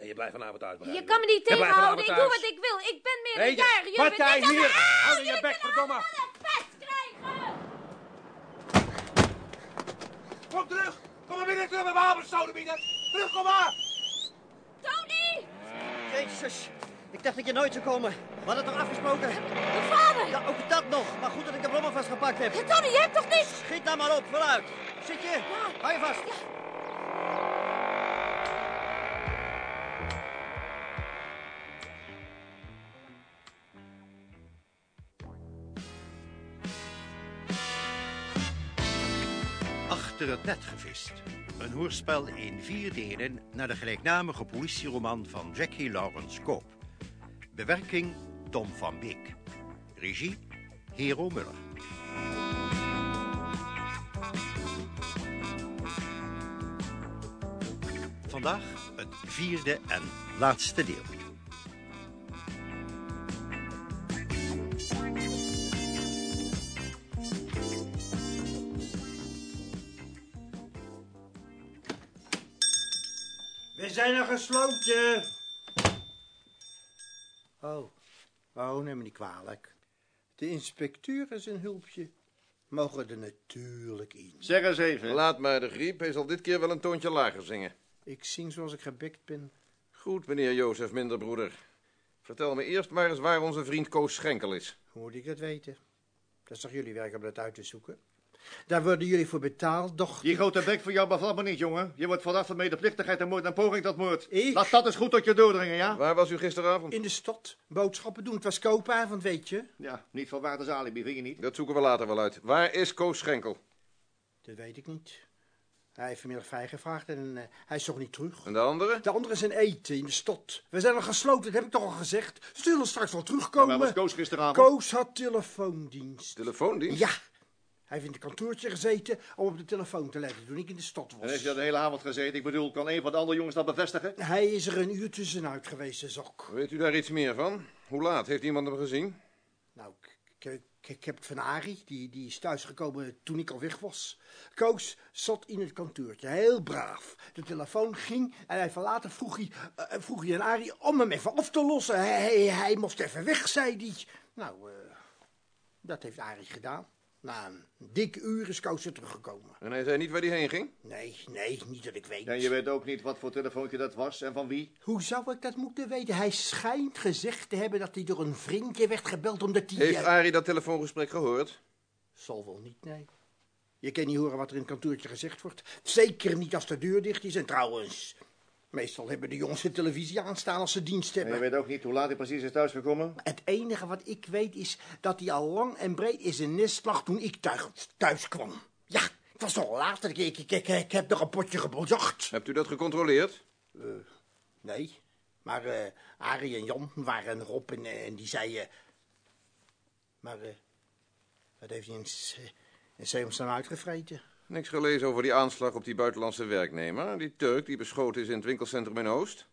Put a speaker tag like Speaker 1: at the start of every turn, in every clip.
Speaker 1: je blijft vanavond uitbreiden.
Speaker 2: Je kan me niet
Speaker 1: Je blijft
Speaker 2: tegenhouden. Ik
Speaker 1: vanavond
Speaker 2: doe
Speaker 1: thuis.
Speaker 2: wat ik wil. Ik ben meer
Speaker 1: Nee,
Speaker 2: een jaar.
Speaker 1: je partij hier.
Speaker 2: Ah,
Speaker 1: Hou je bek, verdomme.
Speaker 2: pest krijgen.
Speaker 1: Kom terug. Kom maar binnen terug met mijn wapens, sodemieter. Terug, kom maar.
Speaker 2: Tony,
Speaker 3: Jezus, ik dacht dat je nooit zou komen. We hadden toch afgesproken?
Speaker 2: mijn vader.
Speaker 3: Ja, ook dat nog. Maar goed dat ik de brommer vastgepakt heb.
Speaker 2: Tony, je hebt toch niks?
Speaker 3: Schiet daar maar op, vooruit. Zit je? Hou je vast.
Speaker 4: Achter het net gevist. Een hoorspel in vier delen naar de gelijknamige politieroman van Jackie Lawrence Koop. Bewerking Tom van Beek. Regie Hero Muller. Vandaag het vierde en laatste deel.
Speaker 5: We zijn er gesloten.
Speaker 3: eh. Oh, oh, neem me niet kwalijk. De inspecteur is een hulpje. Mogen er natuurlijk in.
Speaker 5: Zeg eens even.
Speaker 6: Laat mij de griep, hij zal dit keer wel een toontje lager zingen.
Speaker 3: Ik zing zoals ik gebikt ben.
Speaker 6: Goed, meneer Jozef Minderbroeder. Vertel me eerst maar eens waar onze vriend Koos Schenkel is.
Speaker 3: Hoe moet ik dat weten? Dat is toch jullie werk om dat uit te zoeken? Daar worden jullie voor betaald, doch...
Speaker 5: Die grote bek voor jou bevalt me niet, jongen. Je wordt verdacht van medeplichtigheid en moord en poging tot moord.
Speaker 3: Ik?
Speaker 5: Laat dat eens goed tot je doordringen, ja?
Speaker 6: Waar was u gisteravond?
Speaker 3: In de stad, boodschappen doen. Het was koopavond, weet je.
Speaker 5: Ja, niet van waar als alibi, vind je niet?
Speaker 6: Dat zoeken we later wel uit. Waar is Koos Schenkel?
Speaker 3: Dat weet ik niet. Hij heeft vanmiddag vrijgevraagd en eh, hij is toch niet terug.
Speaker 6: En de andere?
Speaker 3: De anderen zijn eten in de stad. We zijn al gesloten, dat heb ik toch al gezegd. Ze zullen straks wel
Speaker 5: Maar Waar
Speaker 3: terugkomen.
Speaker 5: was Koos gisteravond?
Speaker 3: Koos had telefoondienst.
Speaker 6: Telefoondienst?
Speaker 3: Ja, hij heeft in het kantoortje gezeten om op de telefoon te letten toen ik in de stad
Speaker 5: En heeft
Speaker 3: was.
Speaker 5: hij de hele avond gezeten? Ik bedoel, kan een van de andere jongens dat bevestigen?
Speaker 3: Hij is er een uur tussenuit geweest, Zok.
Speaker 6: Weet u daar iets meer van? Hoe laat? Heeft iemand hem gezien?
Speaker 3: Nou, ik- ik, ik, ik heb het van Arie, die, die is thuisgekomen toen ik al weg was. Koos zat in het kantoortje, heel braaf. De telefoon ging en hij verlaten vroeg hij, eh, vroeg hij aan Arie om hem even af te lossen. Hij, hij, hij moest even weg, zei hij. Nou, eh, dat heeft Arie gedaan. Na een dik uur is Koos weer teruggekomen.
Speaker 6: En hij zei niet waar hij heen ging?
Speaker 3: Nee, nee, niet dat ik weet.
Speaker 5: En je weet ook niet wat voor telefoontje dat was en van wie?
Speaker 3: Hoe zou ik dat moeten weten? Hij schijnt gezegd te hebben dat hij door een vriendje werd gebeld omdat hij...
Speaker 6: Heeft
Speaker 3: eh,
Speaker 6: Arie dat telefoongesprek gehoord?
Speaker 3: Zal wel niet, nee. Je kan niet horen wat er in het kantoortje gezegd wordt. Zeker niet als de deur dicht is. En trouwens, meestal hebben de jongens de televisie aanstaan als ze dienst
Speaker 5: En
Speaker 3: hebben.
Speaker 5: je weet ook niet hoe laat hij precies is thuisgekomen?
Speaker 3: Het enige wat ik weet is dat hij al lang en breed in zijn nest lag toen ik thuis, thuis kwam. Ja, ik was nog later. Ik, ik, ik, ik heb nog een potje geboljacht.
Speaker 6: Hebt u dat gecontroleerd?
Speaker 3: Nee, maar eh Arie en Jan waren erop en, eh, en die zeiden... Maar eh, wat heeft hij in, s- eh, in Zeemstaan uitgevreten?
Speaker 6: Niks gelezen over die aanslag op die buitenlandse werknemer. Die Turk die beschoten is in het winkelcentrum in Oost.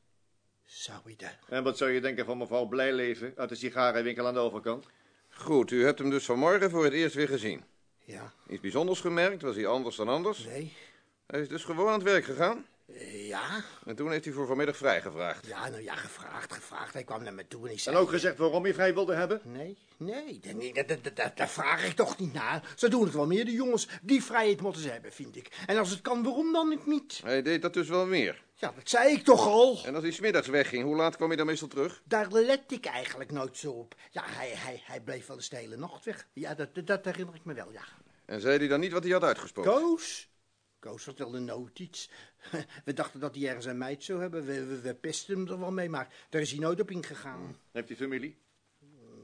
Speaker 3: Zou hij daar...
Speaker 5: En wat zou je denken van mevrouw Blijleven uit de sigarenwinkel aan de overkant?
Speaker 6: Goed, u hebt hem dus vanmorgen voor het eerst weer gezien.
Speaker 3: Ja,
Speaker 6: Iets bijzonders gemerkt? Was hij anders dan anders?
Speaker 3: nee.
Speaker 6: Hij is dus gewoon aan het werk gegaan.
Speaker 3: Eh, ja,
Speaker 6: En toen heeft hij voor vanmiddag vrijgevraagd.
Speaker 3: ja, nou ja, gevraagd, gevraagd. Hij kwam naar me toe en ik
Speaker 5: En
Speaker 3: zei...
Speaker 5: ook gezegd waarom je vrij wilde hebben?
Speaker 3: Nee, nee, dat- nee, dat- dat- dat- dat- daar vraag ik toch niet naar. Ze doen het wel meer, de jongens. Die vrijheid moeten ze hebben, vind ik. En als het kan, waarom dan het niet?
Speaker 6: Hij deed dat dus wel meer.
Speaker 3: Ja, dat zei ik toch al.
Speaker 6: En als hij smiddags wegging, hoe laat kwam hij dan meestal terug?
Speaker 3: Daar let ik eigenlijk nooit zo op. Ja, hij, hij, hij bleef wel eens de hele nacht weg. Ja, dat, dat, dat herinner ik me wel, ja.
Speaker 6: En zei hij dan niet wat hij had uitgesproken?
Speaker 3: Koos? Koos vertelde nooit iets. We dachten dat hij ergens een meid zou hebben. We, we, we pesten hem er wel mee, maar daar is hij nooit op ingegaan.
Speaker 5: Heeft hij familie?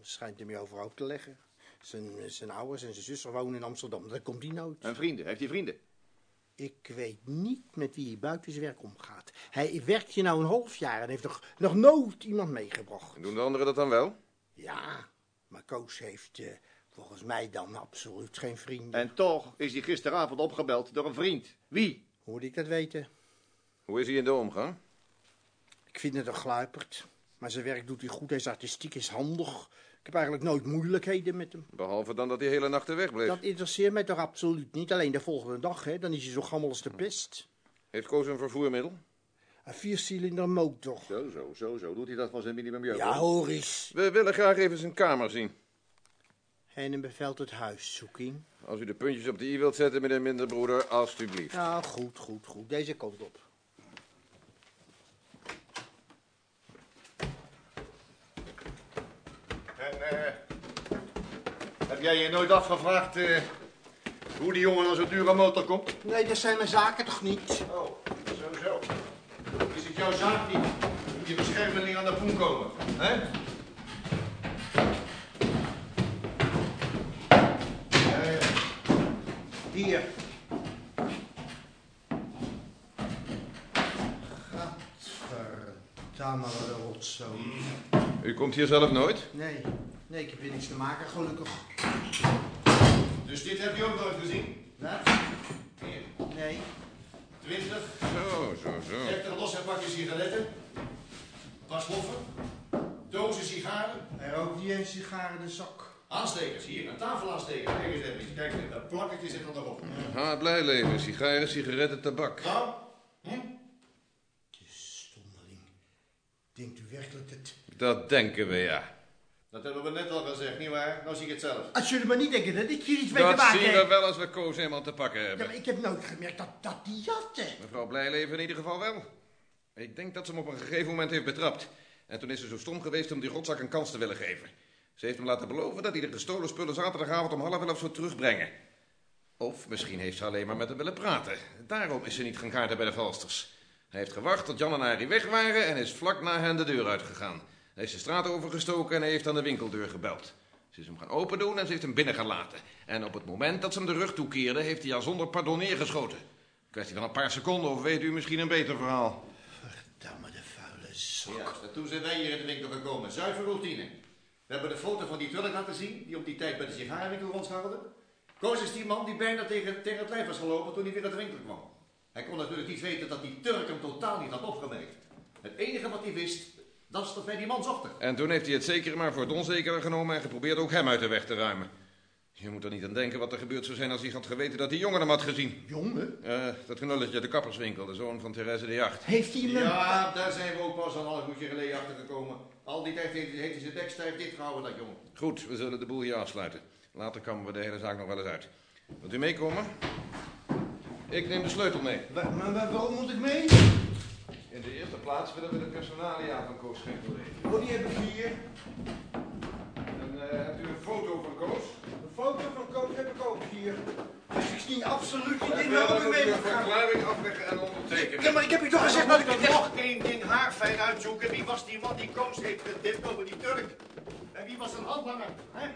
Speaker 3: schijnt hem je overhoop te leggen. Zijn, zijn ouders en zijn zussen wonen in Amsterdam. Dat komt die nooit.
Speaker 5: En vrienden? Heeft hij vrienden?
Speaker 3: Ik weet niet met wie hij buiten zijn werk omgaat. Hij werkt hier nou een half jaar en heeft nog, nog nooit iemand meegebracht.
Speaker 6: En doen de anderen dat dan wel?
Speaker 3: Ja, maar Koos heeft eh, volgens mij dan absoluut geen vrienden.
Speaker 5: En toch is hij gisteravond opgebeld door een vriend. Wie?
Speaker 3: Hoe moet ik dat weten?
Speaker 6: Hoe is hij in de omgang?
Speaker 3: Ik vind het een gluiperd. Maar zijn werk doet hij goed, hij is artistiek, is handig. Ik heb eigenlijk nooit moeilijkheden met hem.
Speaker 6: Behalve dan dat hij hele nachten wegbleef.
Speaker 3: Dat interesseert mij toch absoluut niet. Alleen de volgende dag, hè, dan is hij zo gammel als de pest.
Speaker 6: Heeft Koos een vervoermiddel?
Speaker 3: Een viercilinder motor.
Speaker 5: Zo, zo, zo, zo. Doet hij dat van zijn minimumjeugd?
Speaker 3: Ja,
Speaker 5: hoor.
Speaker 3: hoor eens.
Speaker 6: We willen graag even zijn kamer zien.
Speaker 3: En bevelt het huiszoeking.
Speaker 6: Als u de puntjes op de i wilt zetten, meneer Minderbroeder, alstublieft.
Speaker 3: Nou, goed, goed, goed. Deze kant op.
Speaker 5: En, eh, heb jij je nooit afgevraagd eh, hoe die jongen aan zo'n dure motor komt?
Speaker 3: Nee, dat zijn mijn zaken toch niet?
Speaker 5: Oh, zo, zo. Is het jouw zaak niet? Moet je beschermeling aan de poen komen, hè? Ja, ja. Hier.
Speaker 3: Gadverdamme, wat een rotzooi.
Speaker 6: U komt hier zelf nooit?
Speaker 3: Nee, nee, ik heb hier niks te maken, gelukkig.
Speaker 5: Dus dit heb je ook nooit gezien?
Speaker 3: Wat?
Speaker 5: Hier,
Speaker 3: Nee.
Speaker 5: 20,
Speaker 6: Zo, zo, zo.
Speaker 5: 30 losse pakjes sigaretten. Pasloffen. Dozen sigaren.
Speaker 3: En ook die een sigaar in de zak.
Speaker 5: Aanstekers, hier, een tafelaansteker. Kijk eens even, kijk, dat plakketje zit er nog op.
Speaker 6: Ha, blij leven. Sigaren, sigaretten, tabak.
Speaker 5: Nou, hm?
Speaker 3: De stommeling. Denkt u werkelijk dat...
Speaker 6: Dat denken we, ja.
Speaker 5: Dat hebben we net al gezegd, nietwaar? Nou zie ik het zelf.
Speaker 3: Als jullie maar niet denken dat ik hier iets mee te
Speaker 6: Dat
Speaker 3: maken
Speaker 6: zien we
Speaker 3: heb.
Speaker 6: wel als we Koos eenmaal te pakken
Speaker 3: Ja,
Speaker 6: hebben.
Speaker 3: maar ik heb nooit gemerkt dat, dat die jatten.
Speaker 6: Mevrouw Blijleven in ieder geval wel. Ik denk dat ze hem op een gegeven moment heeft betrapt. En toen is ze zo stom geweest om die rotzak een kans te willen geven. Ze heeft hem laten beloven dat hij de gestolen spullen zaterdagavond om half elf zou terugbrengen. Of misschien heeft ze alleen maar met hem willen praten. Daarom is ze niet gaan kaarten bij de valsters. Hij heeft gewacht tot Jan en Arie weg waren en is vlak na hen de deur uitgegaan. Hij is de straat overgestoken en hij heeft aan de winkeldeur gebeld. Ze is hem gaan opendoen en ze heeft hem binnengelaten. En op het moment dat ze hem de rug toekeerde, heeft hij haar zonder pardon neergeschoten. Kwestie van een paar seconden of weet u misschien een beter verhaal.
Speaker 3: Verdamme, de vuile zak.
Speaker 5: Ja, en toen zijn wij hier in de winkel gekomen. Zuiver routine. We hebben de foto van die tulk laten zien, die op die tijd bij de sigarenwinkel rondscharrelde. Koos is die man die bijna tegen, tegen het lijf was gelopen toen hij weer uit de winkel kwam. Hij kon natuurlijk niet weten dat die Turk hem totaal niet had opgemerkt. Het enige wat hij wist, dat is dat wij die man zochten.
Speaker 6: En toen heeft hij het zekere maar voor het onzekere genomen en geprobeerd ook hem uit de weg te ruimen. Je moet er niet aan denken wat er gebeurd zou zijn als hij had geweten dat die jongen hem had gezien.
Speaker 3: Jongen?
Speaker 6: Eh, dat knulletje uit de kapperswinkel, de zoon van Therese de Jacht.
Speaker 3: Heeft hij me...
Speaker 5: Ja, daar zijn we ook pas een half uurtje geleden achter gekomen. Al die tijd heeft, heeft hij zijn dek stijf dichtgehouden, dat jongen.
Speaker 6: Goed, we zullen de boel hier afsluiten. Later komen we de hele zaak nog wel eens uit. Wilt u meekomen? Ik neem de sleutel mee.
Speaker 3: Wa- Maar, maar waarom moet ik mee?
Speaker 6: In de eerste plaats willen we de personalia van Koos Schenkel weten.
Speaker 3: Oh, die heb ik hier.
Speaker 6: En eh, hebt u een foto van Koos?
Speaker 3: Een foto van Koos heb ik ook hier. Dus ik zie absoluut niet in
Speaker 6: En willen
Speaker 3: waarom ik
Speaker 6: dat
Speaker 3: mee
Speaker 6: u een
Speaker 3: moet gaan.
Speaker 6: verklaring afleggen en ondertekenen.
Speaker 3: Ja, maar ik heb je toch gezegd dat ik het echt...
Speaker 5: één ding haarfijn uitzoeken. Wie was die man die Koos heeft getipt over die Turk? En wie was een handlanger? Hè?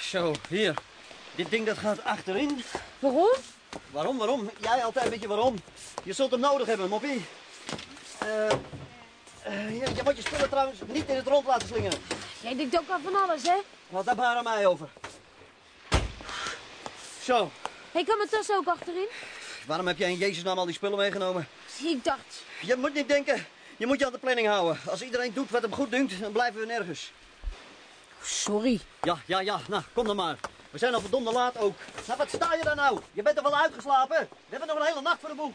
Speaker 7: Zo, hier. Dit ding dat gaat achterin.
Speaker 2: Waarom?
Speaker 7: Waarom, waarom? Jij altijd weet je waarom. Je zult hem nodig hebben, moppie. Eh, eh, je, je moet je spullen trouwens niet in het rond laten slingeren.
Speaker 2: Jij denkt ook al van alles, hè?
Speaker 7: Laat daar maar aan mij over. Zo,
Speaker 2: Hey, kan mijn tas ook achterin?
Speaker 7: waarom heb jij in Jezus naam al die spullen meegenomen?
Speaker 2: Ik dacht.
Speaker 7: Je moet niet denken, je moet je aan de planning houden. Als iedereen doet wat hem goed dunkt, dan blijven we nergens.
Speaker 2: Oh, Sorry.
Speaker 7: Ja, ja, ja, nou, kom dan maar. We zijn al verdomde laat ook. Nou, wat sta je daar nou? Je bent er wel uitgeslapen? We hebben nog een hele nacht voor de boeg.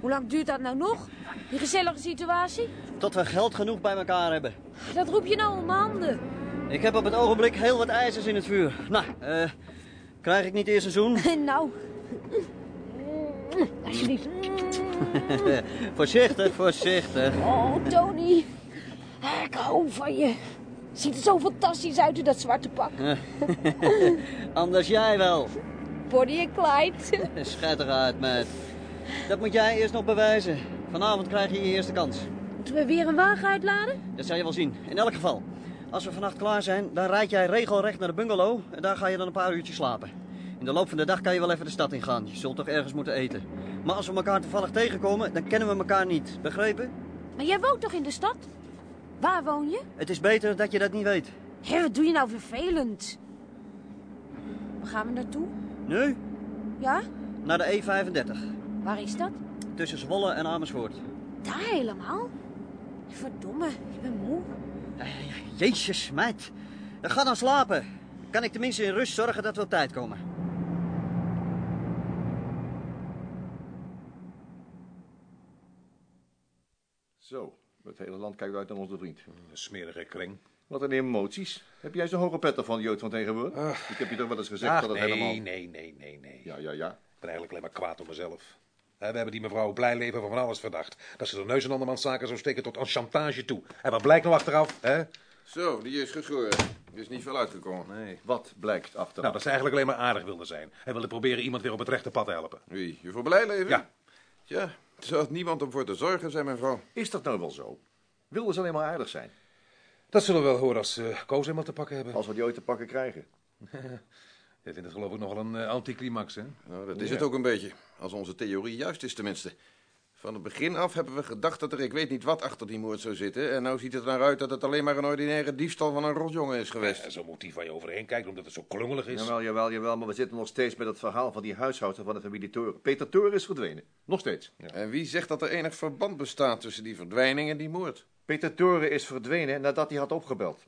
Speaker 2: Hoe lang duurt dat nou nog? Die gezellige situatie?
Speaker 7: Tot we geld genoeg bij elkaar hebben.
Speaker 2: Dat roep je nou om mijn handen.
Speaker 7: Ik heb op het ogenblik heel wat ijzers in het vuur. Nou, eh, krijg ik niet eerst een zoen?
Speaker 2: nou. Mm, Alsjeblieft.
Speaker 7: voorzichtig, voorzichtig.
Speaker 2: Oh, Tony. Ik hou van je. Ziet er zo fantastisch uit in dat zwarte pak.
Speaker 7: Anders jij wel.
Speaker 2: Bonnie en Clyde.
Speaker 7: Schettig uit, meid. Dat moet jij eerst nog bewijzen. Vanavond krijg je je eerste kans.
Speaker 2: Moeten we weer een wagen uitladen?
Speaker 7: Dat zal je wel zien. In elk geval, als we vannacht klaar zijn, dan rijd jij regelrecht naar de bungalow. En daar ga je dan een paar uurtjes slapen. In de loop van de dag kan je wel even de stad ingaan. Je zult toch ergens moeten eten. Maar als we elkaar toevallig tegenkomen, dan kennen we elkaar niet. Begrepen?
Speaker 8: Maar jij woont toch in de stad? Waar woon je?
Speaker 7: Het is beter dat je dat niet weet.
Speaker 8: Hé, wat doe je nou vervelend? Waar gaan we naartoe?
Speaker 7: Nu?
Speaker 8: Ja?
Speaker 7: Naar de E35.
Speaker 8: Waar is dat?
Speaker 7: Tussen Zwolle en Amersfoort.
Speaker 8: Daar helemaal? Verdomme, ik ben moe.
Speaker 7: Jezus, meid. Dan Ga dan slapen. Dan kan ik tenminste in rust zorgen dat we op tijd komen.
Speaker 5: Zo, het hele land kijkt uit naar onze vriend.
Speaker 1: Een smerige kring.
Speaker 5: Wat een emoties. Heb jij zo'n hoge pet ervan, Jood van tegenwoordig? Ik heb je toch wel eens gezegd
Speaker 1: Ach,
Speaker 5: dat het
Speaker 1: nee,
Speaker 5: helemaal...
Speaker 1: nee, nee, nee, nee.
Speaker 5: Ja, ja, ja.
Speaker 1: Ik ben eigenlijk alleen maar kwaad op mezelf. Hè, We hebben die mevrouw Blijleven van alles verdacht. Dat ze de neus in andermans zaken zou steken tot aan chantage toe. En wat blijkt nou achteraf? Hè?
Speaker 6: Zo, die is geschoren. Er is niet veel uitgekomen.
Speaker 1: Nee.
Speaker 5: Wat blijkt achteraf?
Speaker 1: Nou, dat ze eigenlijk alleen maar aardig wilde zijn. En wilde proberen iemand weer op het rechte pad te helpen.
Speaker 6: Wie? Je voor blij leven?
Speaker 1: Ja.
Speaker 6: Tja, er zat niemand om voor te zorgen, zei mijn vrouw.
Speaker 5: Is dat nou wel zo? Wilde ze alleen maar aardig zijn?
Speaker 1: Dat zullen we wel horen als eh Koos helemaal te pakken hebben.
Speaker 5: Als we die ooit te pakken krijgen.
Speaker 1: Dit vindt het geloof ik nogal een eh, anticlimax, hè?
Speaker 6: Nou, dat is het ook een beetje. Als onze theorie juist is tenminste. Van het begin af hebben we gedacht dat er ik weet niet wat achter die moord zou zitten. En nou ziet het eruit dat het alleen maar een ordinaire diefstal van een rotjongen is geweest.
Speaker 1: Ja, Zo'n motief waar je overheen kijkt, omdat het zo klungelig is.
Speaker 5: Jawel, jawel, jawel, maar we zitten nog steeds met het verhaal van die huishoudster van de familie Toren. Peter Toren is verdwenen. Nog steeds.
Speaker 6: En wie zegt dat er enig verband bestaat tussen die verdwijning en die moord?
Speaker 5: Peter Toren is verdwenen nadat hij had opgebeld.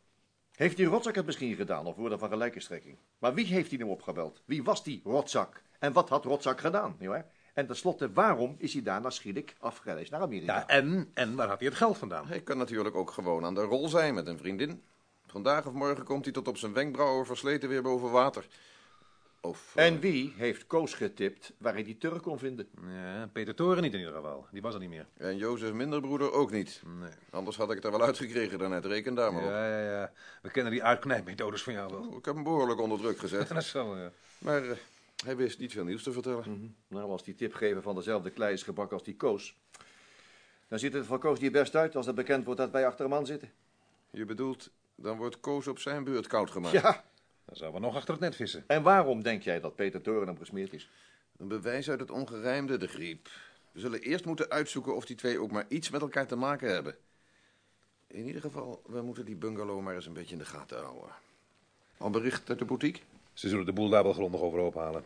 Speaker 5: Heeft die rotzak het misschien gedaan of woorden van gelijke strekking? Maar wie heeft hij hem opgebeld? Wie was die rotzak? En wat had rotzak gedaan? nietwaar? En tenslotte, waarom is hij daarna schielijk afgereisd naar Amerika?
Speaker 1: Ja, Ah, en, en waar had hij het geld vandaan?
Speaker 6: Hij kan natuurlijk ook gewoon aan de rol zijn met een vriendin. Vandaag of morgen komt hij tot op zijn wenkbrauwen versleten weer boven water. Of... eh,
Speaker 5: En wie heeft Koos getipt waar hij die Turk kon vinden?
Speaker 1: Ja, Peter Toren niet in ieder geval. Die was er niet meer.
Speaker 6: En Jozef Minderbroeder ook niet. Anders had ik het er wel uitgekregen daarnet. Reken daar maar op.
Speaker 1: Ja, ja, ja. We kennen die uitknijpmethodes van jou wel.
Speaker 6: Ik heb hem behoorlijk onder druk gezet.
Speaker 1: Dat zal, ja.
Speaker 6: Maar eh, hij wist niet veel nieuws te vertellen.
Speaker 1: Mhm.
Speaker 5: Nou, als die tipgever van dezelfde klei is gebakken als die Koos... dan ziet het voor Koos die best uit als het bekend wordt dat wij achter een man zitten.
Speaker 6: Je bedoelt, dan wordt Koos op zijn beurt koud gemaakt.
Speaker 5: Ja,
Speaker 1: Dan zouden we nog achter het net vissen.
Speaker 5: en waarom denk jij dat Peter Toren hem gesmeerd is?
Speaker 6: Een bewijs uit het ongerijmde, de griep. We zullen eerst moeten uitzoeken of die twee ook maar iets met elkaar te maken hebben. In ieder geval, we moeten die bungalow maar eens een beetje in de gaten houden. Al bericht uit de boutique?
Speaker 1: Ze zullen de boel daar wel grondig over ophalen.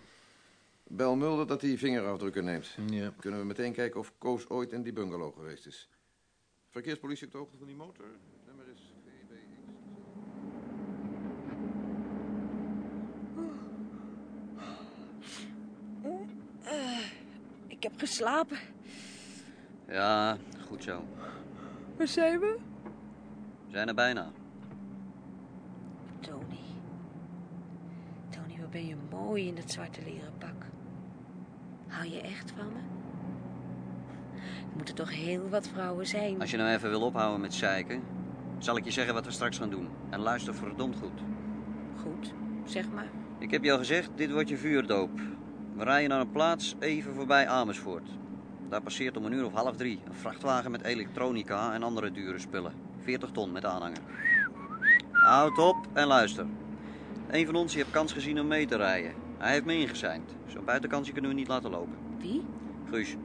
Speaker 6: Bel Mulder dat hij vingerafdrukken neemt.
Speaker 1: Ja.
Speaker 6: Kunnen we meteen kijken of Koos ooit in die bungalow geweest is. Verkeerspolitie op de hoogte van die motor. Nummer is VBX.
Speaker 8: Ik heb geslapen.
Speaker 7: Ja, goed zo.
Speaker 8: Waar zijn we?
Speaker 7: We zijn er bijna.
Speaker 8: Tony. Tony, wat ben je mooi in dat zwarte leren pak. Hou je echt van me? Er moeten toch heel wat vrouwen zijn.
Speaker 7: Als je nou even wil ophouden met zeiken, zal ik je zeggen wat we straks gaan doen. En luister verdomd goed.
Speaker 8: Goed, zeg maar.
Speaker 7: Ik heb je al gezegd, dit wordt je vuurdoop. We rijden naar een plaats even voorbij Amersfoort. Daar passeert om een uur of half drie een vrachtwagen met elektronica en andere dure spullen. 40 ton met aanhanger. Houd op en luister. Een van ons die heeft kans gezien om mee te rijden. Hij heeft me ingezeind. Zo'n buitenkansje kunnen we niet laten lopen.
Speaker 8: Wie?
Speaker 7: Guus,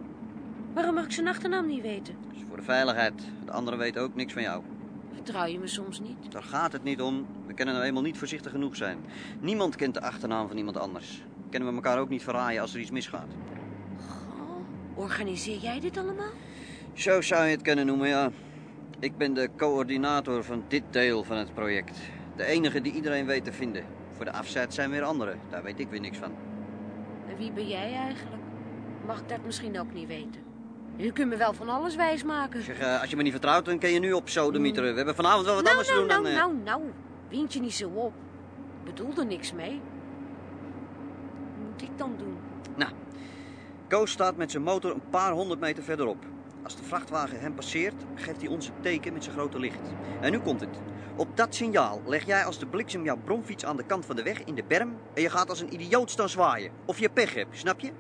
Speaker 8: Waarom mag ik zijn achternaam niet weten?
Speaker 7: dat is voor de veiligheid. De anderen weten ook niks van jou.
Speaker 8: Vertrouw je me soms niet?
Speaker 7: Daar gaat het niet om. We kunnen nou eenmaal niet voorzichtig genoeg zijn. Niemand kent de achternaam van iemand anders. Kunnen we elkaar ook niet verraaien als er iets misgaat.
Speaker 8: Goh, Oh, organiseer jij dit allemaal?
Speaker 7: Zo zou je het kunnen noemen, ja. Ik ben de coördinator van dit deel van het project. De enige die iedereen weet te vinden. Voor de afzet zijn weer anderen. Daar weet ik weer niks van.
Speaker 8: En wie ben jij eigenlijk? Mag ik dat misschien ook niet weten? Je kunt me wel van alles wijsmaken.
Speaker 7: Zeg, eh, als je me niet vertrouwt, dan kun je nu op sodemieteren. We hebben vanavond wel wat
Speaker 8: nou,
Speaker 7: anders te
Speaker 8: nou,
Speaker 7: doen
Speaker 8: nou,
Speaker 7: dan... eh,
Speaker 8: nou, nou. Wind je niet zo op. Ik bedoel er niks mee. Wat moet ik dan doen?
Speaker 7: Nou, Koos staat met zijn motor een paar honderd meter verderop. Als de vrachtwagen hem passeert, geeft hij ons een teken met zijn grote licht. En nu komt het. Op dat signaal leg jij als de bliksem jouw bromfiets aan de kant van de weg in de berm... en je gaat als een idioot staan zwaaien. Of je pech hebt, snap je?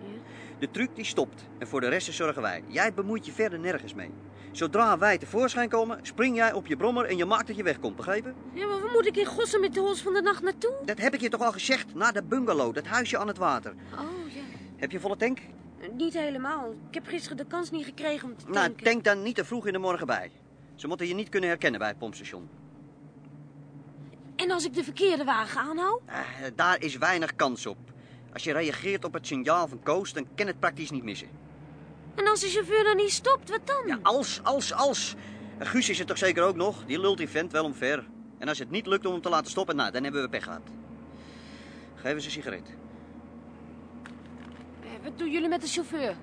Speaker 7: De truc die stopt en voor de rest zorgen wij. Jij bemoeit je verder nergens mee. Zodra wij tevoorschijn komen, spring jij op je brommer en je maakt dat je wegkomt, begrepen?
Speaker 8: Ja, maar waar moet ik in godsnaam met de hols van de nacht naartoe?
Speaker 7: Dat heb ik je toch al gezegd, naar de bungalow, dat huisje aan het water.
Speaker 8: Oh, ja.
Speaker 7: Heb je volle tank?
Speaker 8: Niet helemaal. Ik heb gisteren de kans niet gekregen om te tanken.
Speaker 7: Nou, tank dan niet te vroeg in de morgen bij. Ze moeten je niet kunnen herkennen bij het pompstation.
Speaker 8: En als ik de verkeerde wagen aanhoud?
Speaker 7: Ah, daar is weinig kans op. Als je reageert op het signaal van Koos, dan kan het praktisch niet missen.
Speaker 8: En als de chauffeur dan niet stopt, wat dan?
Speaker 7: Ja, als, als, als. En Guus is er toch zeker ook nog? Die lult die vent wel omver. En als het niet lukt om hem te laten stoppen, nou, dan hebben we pech gehad. Geef eens een sigaret.
Speaker 8: Eh, Wat doen jullie met de chauffeur?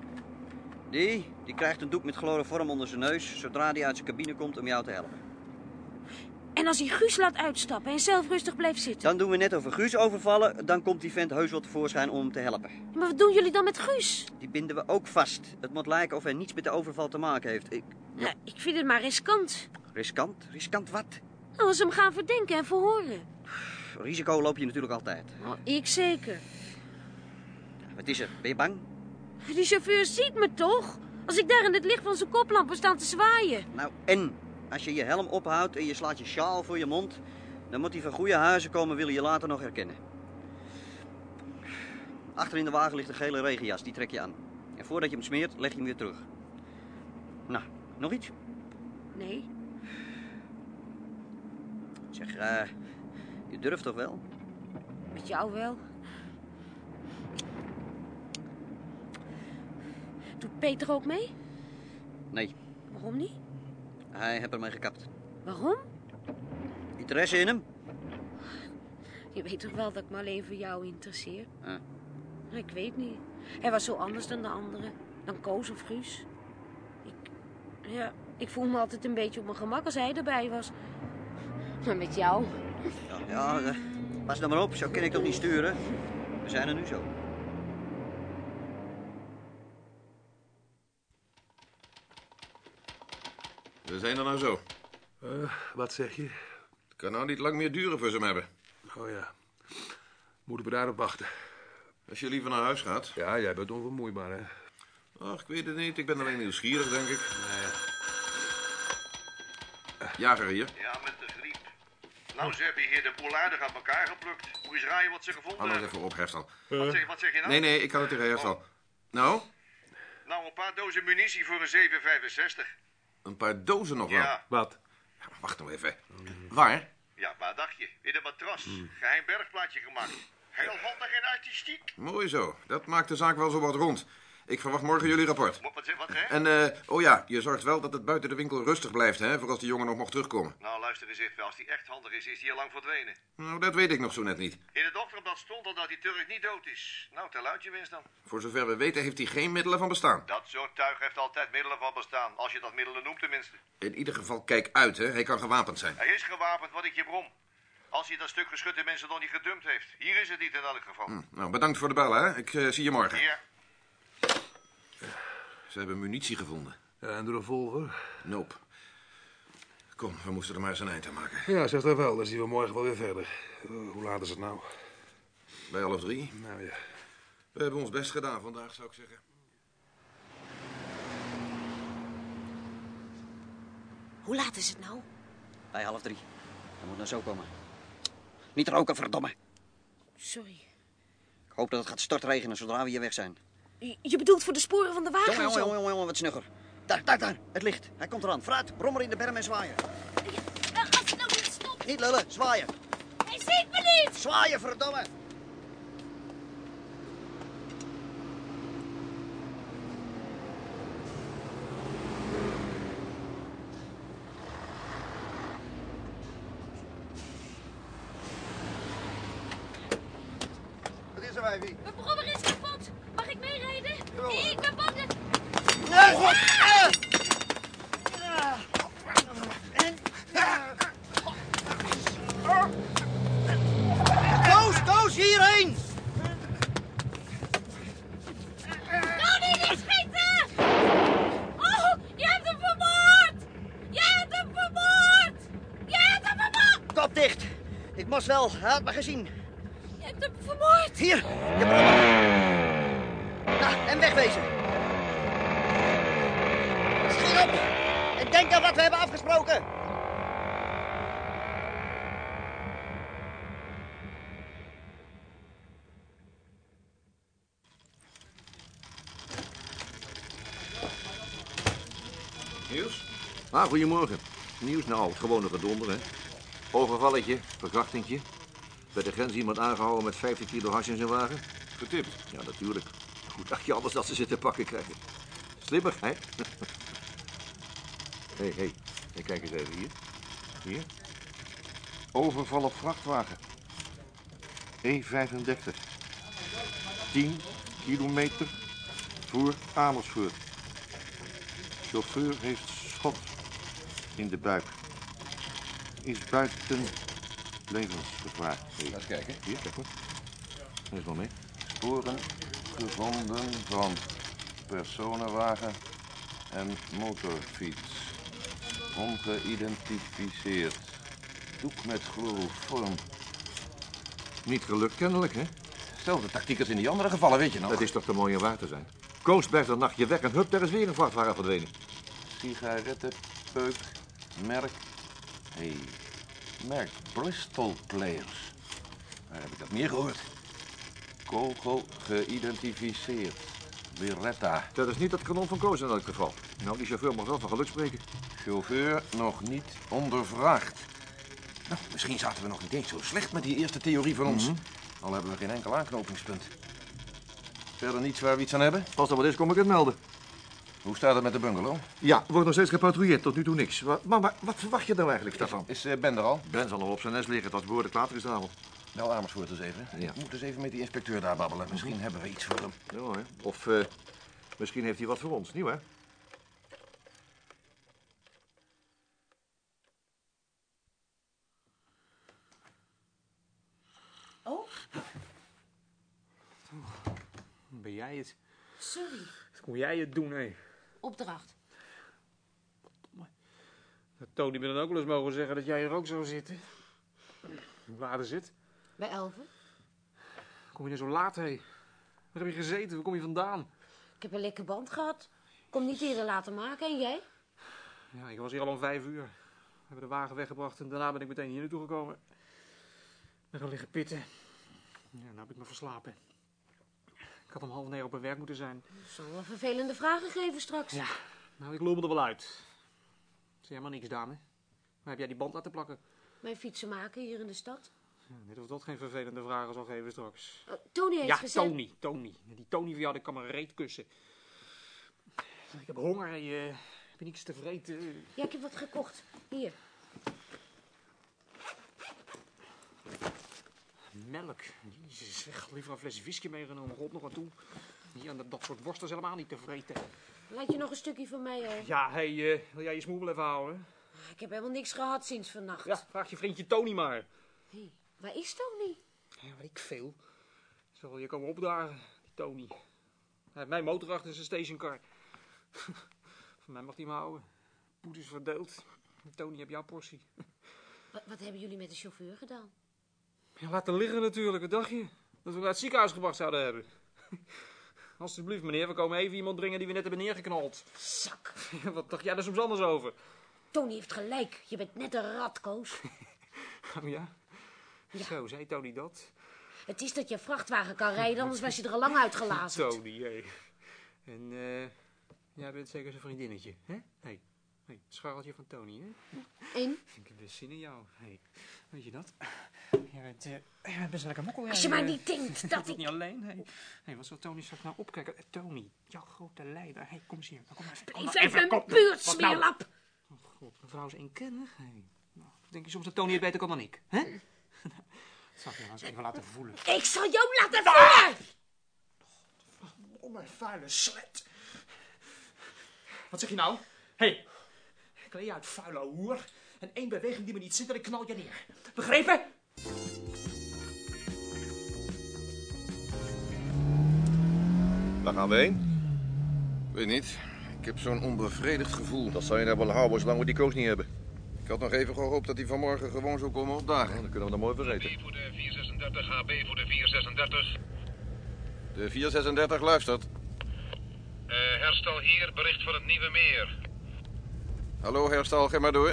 Speaker 7: Die, die krijgt een doek met chloroform onder zijn neus zodra die uit zijn cabine komt om jou te helpen.
Speaker 8: En als hij Guus laat uitstappen en zelf rustig blijft zitten?
Speaker 7: Dan doen we net over Guus overvallen, dan komt die vent heus wel tevoorschijn om hem te helpen.
Speaker 8: Maar wat doen jullie dan met Guus?
Speaker 7: Die binden we ook vast. Het moet lijken of hij niets met de overval te maken heeft. Ik...
Speaker 8: Nou, ik vind het maar riskant.
Speaker 7: Riskant? Riskant wat?
Speaker 8: Nou, als ze hem gaan verdenken en verhoren.
Speaker 7: Pff, Risico loop je natuurlijk altijd.
Speaker 8: Ik zeker.
Speaker 7: Wat is er? Ben je bang?
Speaker 8: Die chauffeur ziet me toch? Als ik daar in het licht van zijn koplampen sta te zwaaien.
Speaker 7: Nou, en als je je helm ophoudt en je slaat je sjaal voor je mond, dan moet hij van goede huizen komen, wil je later nog herkennen. Achter in de wagen ligt een gele regenjas, die trek je aan. En voordat je hem smeert, leg je hem weer terug. Nou, nog iets?
Speaker 8: Nee,
Speaker 7: Zeg, eh, je durft toch wel?
Speaker 8: met jou wel. Doet Peter ook mee?
Speaker 7: Nee,
Speaker 8: Waarom niet?
Speaker 7: hij heeft ermee gekapt.
Speaker 8: Waarom?
Speaker 7: Interesse in hem?
Speaker 8: Je weet toch wel dat ik me alleen voor jou interesseer?
Speaker 7: Ja.
Speaker 8: Ik weet niet. Hij was zo anders dan de anderen. Dan Koos of Guus. Ik, ja, ik voel me altijd een beetje op mijn gemak als hij erbij was. Maar met jou.
Speaker 7: Ja, ja eh, pas nou maar op, zo kan ik toch niet sturen? We zijn er nu zo.
Speaker 6: We zijn er nou zo.
Speaker 1: Wat zeg je?
Speaker 6: Het kan nou niet lang meer duren voor ze hem hebben.
Speaker 1: Oh ja. Moeten we daarop wachten?
Speaker 6: Als je liever naar huis gaat.
Speaker 1: Ja, jij bent onvermoeibaar, hè?
Speaker 6: Ach, ik weet het niet. Ik ben alleen nieuwsgierig, denk ik. Jager hier.
Speaker 5: Ja, met de griep. Nou, ze hebben hier de polaarden aan elkaar geplukt. Moet je eens raaien wat ze gevonden
Speaker 6: Anders even op, Herstal.
Speaker 5: Wat, zeg, wat zeg je nou?
Speaker 6: Nee, nee, ik kan het tegen Herstal. Nou,
Speaker 5: Nou, een paar dozen munitie voor een 7,65.
Speaker 6: een paar dozen nog wel.
Speaker 5: Ja.
Speaker 1: Wat?
Speaker 6: Ja, maar wacht nou even. Waar?
Speaker 5: Ja, waar dacht je? In een matras. Geheim bergplaatje gemaakt. Heel handig en artistiek.
Speaker 6: Mooi zo. Dat maakt de zaak wel zo wat rond. Ik verwacht morgen jullie rapport.
Speaker 5: Wat, wat, wat hè?
Speaker 6: En, eh, oh ja, je zorgt wel dat het buiten de winkel rustig blijft, hè, voor als die jongen nog mocht terugkomen.
Speaker 5: Nou, luister eens even. Als die echt handig is, is die al lang verdwenen.
Speaker 6: Nou, dat weet ik nog zo net niet.
Speaker 5: In het ochtendblad stond al dat die Turk niet dood is. Nou, tel uit je winst dan.
Speaker 6: Voor zover we weten heeft hij geen middelen van bestaan.
Speaker 5: Dat soort tuig heeft altijd middelen van bestaan. Als je dat middelen noemt tenminste.
Speaker 6: In ieder geval, kijk uit, hè. Hij kan gewapend zijn.
Speaker 5: Hij is gewapend, wat ik je brom. Als hij dat stuk geschutte mensen nog niet gedumpt heeft. Hier is het niet in elk geval.
Speaker 6: Nou, bedankt voor de bellen, hè. Ik eh, zie je morgen.
Speaker 5: Hier.
Speaker 6: Ze hebben munitie gevonden.
Speaker 1: En de revolver?
Speaker 6: Nope. Kom, we moesten er maar eens een eind aan maken.
Speaker 1: Ja, zeg dat wel. Dan zien we morgen wel weer verder. Eh, hoe laat is het nou?
Speaker 6: Bij half drie.
Speaker 1: Nou ja.
Speaker 6: We hebben ons best gedaan vandaag, zou ik zeggen.
Speaker 8: Hoe laat is het nou?
Speaker 7: Bij half drie. Hij moet nou zo komen. Niet roken, verdomme.
Speaker 8: Sorry.
Speaker 7: Ik hoop dat het gaat stortregenen zodra we hier weg zijn.
Speaker 8: Je, je bedoelt voor de sporen van de wagen
Speaker 7: Jongen,
Speaker 8: en zo?
Speaker 7: jongen, jongen, jongen, wat snugger. Daar, daar, daar. Het licht. Hij komt eraan. Vooruit, brommer in de berm en zwaaien.
Speaker 8: Eh, als het nou niet stopt,
Speaker 7: Niet lullen, zwaaien.
Speaker 8: hij ziet me niet!
Speaker 7: Zwaaien, verdomme.
Speaker 9: Wat is er, wijfie?
Speaker 8: Mijn brommer is kapot. Mag ik meerijden? Ik ben bang dat...
Speaker 7: Koos, Koos, hierheen.
Speaker 8: Tony, niet schieten! Oh, je hebt hem vermoord! Jij hebt hem vermoord! Jij hebt hem vermoord!
Speaker 7: Kop dicht. Ik moest wel. Hij had me gezien.
Speaker 8: Je hebt hem vermoord!
Speaker 7: Hier, je brommer. Nou, en wegwezen. Schiet op. En Denk aan wat we hebben afgesproken.
Speaker 6: Nieuws? Ah, goedemorgen. Nieuws nou, het gewone gedonder, hè. Overvalletje, verkrachtingje. Bij de grens iemand aangehouden met 15 kilo hash in zijn wagen. Getipt? Ja, natuurlijk. Hoe dacht je anders dat ze zitten pakken krijgen? Slimmigheid. Hé, hé. Hey, hey, kijk eens even hier. Hier. Overval op vrachtwagen. E E35. 10 kilometer voor Amersfoort. Chauffeur heeft schot in de buik. Is buiten levensgevaar. Laat eens kijken. Hier, kijk hoor. Er is nog mee. Sporen gevonden van personenwagen en motorfiets. Ongeïdentificeerd. Doek met chloroform. Niet gelukt kennelijk, hè?
Speaker 10: Zelfde tactiek als in die andere gevallen, weet je nog?
Speaker 6: Dat is toch te mooi om waar te zijn. Koos blijft een nachtje weg en hup, daar is weer een vrachtwagen verdwenen.
Speaker 10: Sigarettenpeuk, merk... Hé, hey, merk Bristol Players. Waar heb ik dat meer gehoord? Kogel geïdentificeerd. Beretta.
Speaker 6: Dat is niet dat kanon van Koos in elk geval. Nou, die chauffeur mag wel van geluk spreken.
Speaker 10: Chauffeur nog niet ondervraagd. Nou, misschien zaten we nog niet eens zo slecht met die eerste theorie van
Speaker 6: Mhm.
Speaker 10: ons. Al hebben we geen enkel aanknopingspunt. Verder niets waar we iets aan hebben?
Speaker 6: Als er wat is, kom ik het melden.
Speaker 10: Hoe staat het met de bungalow?
Speaker 6: Ja, wordt nog steeds gepatrouilleerd, tot nu toe niks. Wa- Maar, maar wat verwacht je nou eigenlijk daarvan?
Speaker 10: Is eh, Ben er al?
Speaker 6: Ben zal nog op zijn nest liggen, het was behoorlijk later gisteravond.
Speaker 10: Bel Nou, Amersfoort eens even.
Speaker 6: Ja.
Speaker 10: Ik moet eens even met die inspecteur daar babbelen. Misschien hebben we iets voor hem.
Speaker 6: Ja, hoor. Of eh, misschien heeft hij wat voor ons, nieuw hè?
Speaker 8: Oh,
Speaker 1: Ben jij het?
Speaker 8: sorry.
Speaker 1: Kon jij het doen, hé?
Speaker 8: Opdracht.
Speaker 1: Dat Tony me dan ook wel eens mogen zeggen dat jij hier ook zou zitten. Hoe laat is het?
Speaker 8: Bij Elven.
Speaker 1: Kom je nou zo laat, hé? Waar heb je gezeten? Waar kom je vandaan?
Speaker 8: Ik heb een lekker band gehad. Kom niet eerder laten maken. En jij?
Speaker 1: Ja, ik was hier al om vijf uur. We hebben de wagen weggebracht en daarna ben ik meteen hier naartoe gekomen. Ik ben gaan liggen pitten. Ja, nou heb ik me verslapen. Ik had om half negen op mijn werk moeten zijn.
Speaker 8: Zal wel vervelende vragen geven straks.
Speaker 1: Ja, nou, ik loop er wel uit. Zeg jij maar niks, dame. Waar heb jij die band laten plakken?
Speaker 8: Mijn fietsen maken hier in de stad.
Speaker 1: Ja, net of dat geen vervelende vragen zal geven straks.
Speaker 8: Oh, Tony heeft
Speaker 1: Ja,
Speaker 8: gezegd...
Speaker 1: Tony, Tony. Die Tony van jou, die kan me reet kussen. Ik heb honger, en eh, heb je niks te vreten?
Speaker 8: Ja, ik heb wat gekocht. Hier.
Speaker 1: Melk. Jezus, ik had liever een fles whisky meegenomen. God, nog aan toe. Hier, en dat, dat soort worst is helemaal niet te vreten.
Speaker 8: Laat je nog een stukje van mij over.
Speaker 1: Ja, hé, hey, eh, wil jij je smoel wel even houden?
Speaker 8: Ik heb helemaal niks gehad sinds vannacht.
Speaker 1: Ja, vraag je vriendje Tony maar.
Speaker 8: Hé, waar is Tony?
Speaker 1: Ja, weet ik veel. Zal wel je komen opdagen, die Tony. Hij heeft mijn motor achter zijn stationcar. Van mij mag hij me houden. Poed is verdeeld. Tony, heb jouw portie.
Speaker 8: Wat, wat hebben jullie met de chauffeur gedaan?
Speaker 1: Ja, laten liggen natuurlijk, wat dacht je? Dat we naar het ziekenhuis gebracht zouden hebben. Alsjeblieft, meneer, we komen even iemand brengen die we net hebben neergeknald.
Speaker 8: Zak.
Speaker 1: Ja, Wat dacht jij daar soms anders over?
Speaker 8: Tony heeft gelijk. Je bent net een rat, Koos.
Speaker 1: Oh ja? Zo, zei Tony dat?
Speaker 8: Het is dat je vrachtwagen kan rijden, anders was je er al lang uitgelazerd.
Speaker 1: Tony, hé. En eh, jij bent zeker zijn vriendinnetje, hè? Hé, hey. hey, scharreltje van Tony, hè?
Speaker 8: En
Speaker 1: Ik heb best zin in jou. Hey, weet je dat? Jij bent, eh, jij bent best een lekker mokkel,
Speaker 8: als je maar
Speaker 1: eh.
Speaker 8: niet denkt dat
Speaker 1: Niet
Speaker 8: ik...
Speaker 1: alleen, hé. Hé, wat zal Tony straks nou opkijken? Eh, Tony, jouw grote leider. Hé, kom eens hier. Kom maar even. Kom
Speaker 8: Blijf
Speaker 1: maar
Speaker 8: even in
Speaker 1: kom.
Speaker 8: mijn buurt,
Speaker 1: Wat nou?
Speaker 8: smeerlap.
Speaker 1: God, mevrouw is eenkennig. Hey. Nou, denk je soms dat Tony het beter kan dan ik? Hè? Nou, dat zal ik je nou eens even laten voelen.
Speaker 8: Ik zal jou laten
Speaker 1: Ah!
Speaker 8: vallen!
Speaker 1: Oh, mijn vuile slet. Wat zeg je nou? Hé, hey. kleed je uit, vuile hoer. En één beweging die me niet zit, en ik knal je neer. Begrepen?
Speaker 11: Waar gaan we heen?
Speaker 6: Weet niet. Ik heb zo'n onbevredigd gevoel.
Speaker 11: Dat zou je nou wel houden, zolang we die Koos niet hebben.
Speaker 6: Ik had nog even gehoopt dat hij vanmorgen gewoon zou komen
Speaker 11: Nou,
Speaker 6: opdagen.
Speaker 11: dan kunnen we dat mooi vergeten.
Speaker 5: voor de 436, HB voor de 436.
Speaker 6: De 436 luistert.
Speaker 1: Eh,
Speaker 5: herstel hier, bericht voor het Nieuwe Meer.
Speaker 6: Hallo, herstal, ga maar door.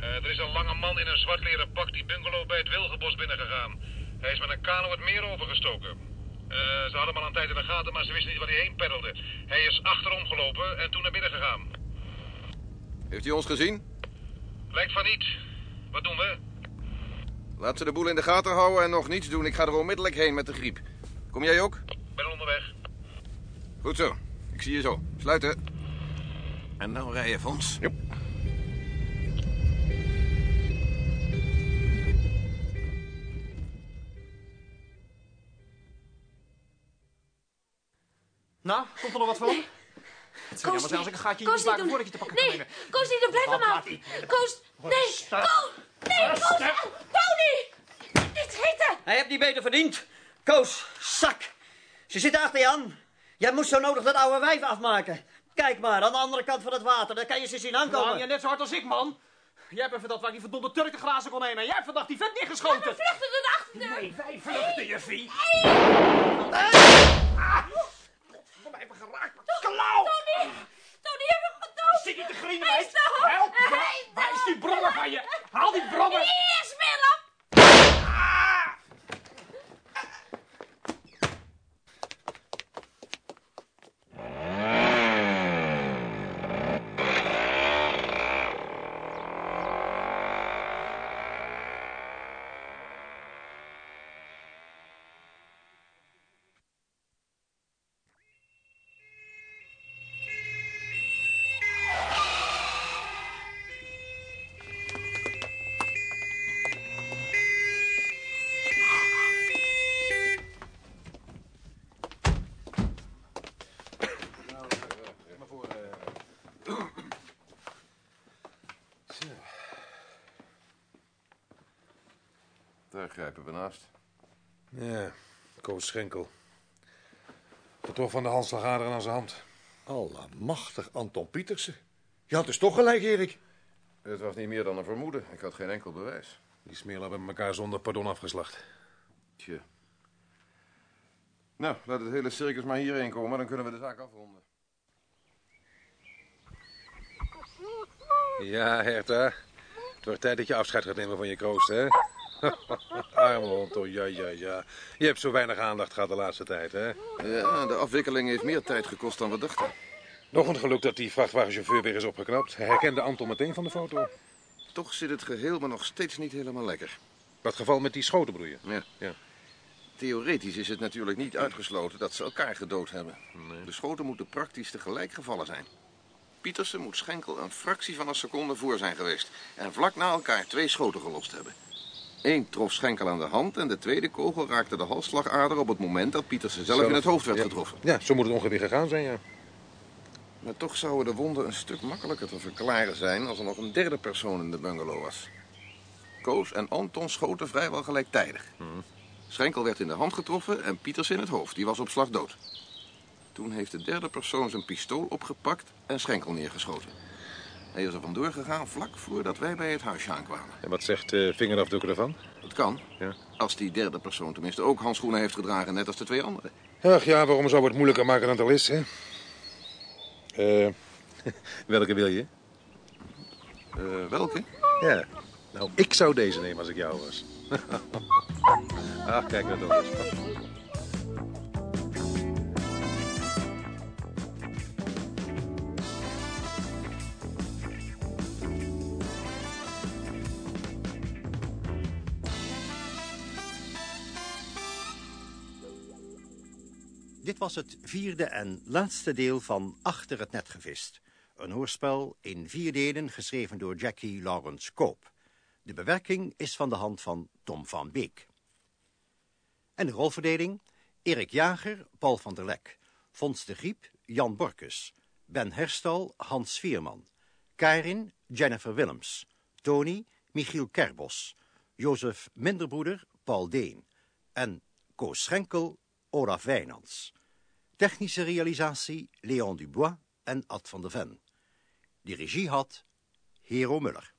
Speaker 1: Eh, er is een lange man in een zwart leren pak die bungalow bij het Wilgenbos binnengegaan. Hij is met een kano het meer overgestoken. Eh, ze hadden hem al een tijd in de gaten, maar ze wisten niet waar hij heen peddelde. Hij is achterom gelopen en toen naar binnen gegaan.
Speaker 6: Heeft u ons gezien?
Speaker 1: Lijkt van niet. Wat doen we?
Speaker 6: Laat ze de boel in de gaten houden en nog niets doen. Ik ga er onmiddellijk heen met de griep. Kom jij ook?
Speaker 1: Ben onderweg.
Speaker 6: Goed zo. Ik zie je zo. Sluiten.
Speaker 12: En nou rij je, Fons.
Speaker 5: Nou, komt er nog wat van? Het zou jammer zijn als ik een gaatje in je
Speaker 2: Koos niet
Speaker 5: slaken
Speaker 2: doen.
Speaker 5: voordat je te pakken
Speaker 2: Nee,
Speaker 5: kan nemen.
Speaker 2: Koos niet doen. Blijf
Speaker 5: Wat
Speaker 2: hem aan.
Speaker 5: laat ik
Speaker 2: Koos, nee. Koos,
Speaker 5: Rustig.
Speaker 2: nee, Koos. Au, Tony. Dit hitte.
Speaker 3: Hij heeft niet beter verdiend. Koos, zak. Ze zitten achter je aan. Jij moest zo nodig dat oude wijf afmaken. Kijk maar, aan de andere kant van het water. Daar kan je ze zien
Speaker 5: Kom
Speaker 3: aankomen.
Speaker 5: je Nou, net zo hard als ik, man. Jij hebt even dat waar die verdomde Turken glazen kon nemen. en Jij hebt vandaag die vent neergeschoten.
Speaker 2: We vluchten door de achterdeur.
Speaker 5: Nee, wij vluchten, juffie. Voor mij even geraakt, maar klauw!
Speaker 2: Tony, Tony, heb hem gedood.
Speaker 5: Zit niet te grienen,
Speaker 2: Hij
Speaker 5: meid?
Speaker 2: is dood.
Speaker 5: Help,
Speaker 2: Hij
Speaker 5: waar-
Speaker 2: is
Speaker 5: waar is
Speaker 2: dood.
Speaker 5: die brommer van je? Haal die brommer!
Speaker 2: Hier, smeerlap.
Speaker 6: Daar grijpen we naast.
Speaker 1: Ja, Koos Schenkel. Betrof van de handslagader aan zijn hand.
Speaker 13: Allemachtig Anton Pietersen. Je had dus toch gelijk, Erik.
Speaker 6: Het was niet meer dan een vermoeden. Ik had geen enkel bewijs.
Speaker 1: Die smeerlap hebben elkaar zonder pardon afgeslacht.
Speaker 6: Tje. Nou, laat het hele circus maar hierheen komen, dan kunnen we de zaak afronden.
Speaker 1: Ja, Herta. Het wordt tijd dat je afscheid gaat nemen van je kroost, hè? Arme hond, oh, ja, ja, ja. Je hebt zo weinig aandacht gehad de laatste tijd, hè?
Speaker 6: Ja, de afwikkeling heeft meer tijd gekost dan we dachten.
Speaker 1: Nog een geluk dat die vrachtwagenchauffeur weer is opgeknapt. Hij herkende Anton meteen van de foto.
Speaker 6: Toch zit het geheel me nog steeds niet helemaal lekker.
Speaker 1: Dat geval met die schoten, bedoel je?
Speaker 6: Ja.
Speaker 1: Ja.
Speaker 6: Theoretisch is het natuurlijk niet uitgesloten dat ze elkaar gedood hebben. De schoten moeten praktisch tegelijk gevallen zijn. Pietersen moet Schenkel een fractie van een seconde voor zijn geweest. En vlak na elkaar twee schoten gelost hebben. Eén trof Schenkel aan de hand en de tweede kogel raakte de halsslagader op het moment dat Pietersen zelf, in het hoofd werd
Speaker 1: Ja.
Speaker 6: getroffen.
Speaker 1: Ja, zo moet het ongeveer gegaan zijn, ja.
Speaker 6: Maar toch zouden de wonden een stuk makkelijker te verklaren zijn als er nog een derde persoon in de bungalow was. Koos en Anton schoten vrijwel gelijktijdig. Schenkel werd in de hand getroffen en Pieters in het hoofd. Die was op slag dood. Toen heeft de derde persoon zijn pistool opgepakt en Schenkel neergeschoten. Hij is er vandoor gegaan vlak voordat wij bij het huisje aankwamen.
Speaker 1: En wat zegt eh vingerafdrukken ervan?
Speaker 6: Dat kan,
Speaker 1: Ja.
Speaker 6: als die derde persoon tenminste ook handschoenen heeft gedragen, net als de twee anderen.
Speaker 1: Ach ja, waarom zou het moeilijker maken dan het al is, hè? Eh, welke wil je?
Speaker 6: Eh, welke?
Speaker 1: Ja. Nou, ik zou deze nemen als ik jou was. Ach, kijk nou toch eens.
Speaker 4: Dit was het vierde en laatste deel van Achter het Net Gevist. Een hoorspel in vier delen geschreven door Jackie Lawrence Koop. De bewerking is van de hand van Tom van Beek. En de rolverdeling? Erik Jager, Paul van der Lek. Fons de Griep, Jan Borkus. Ben Herstal, Hans Vierman. Karin, Jennifer Willems. Tony, Michiel Kerbos. Jozef Minderbroeder, Paul Deen. En Koos Schenkel, Olaf Wijnands. Technische realisatie Leon Dubois en Ad van der Ven. Die regie had Hero Muller.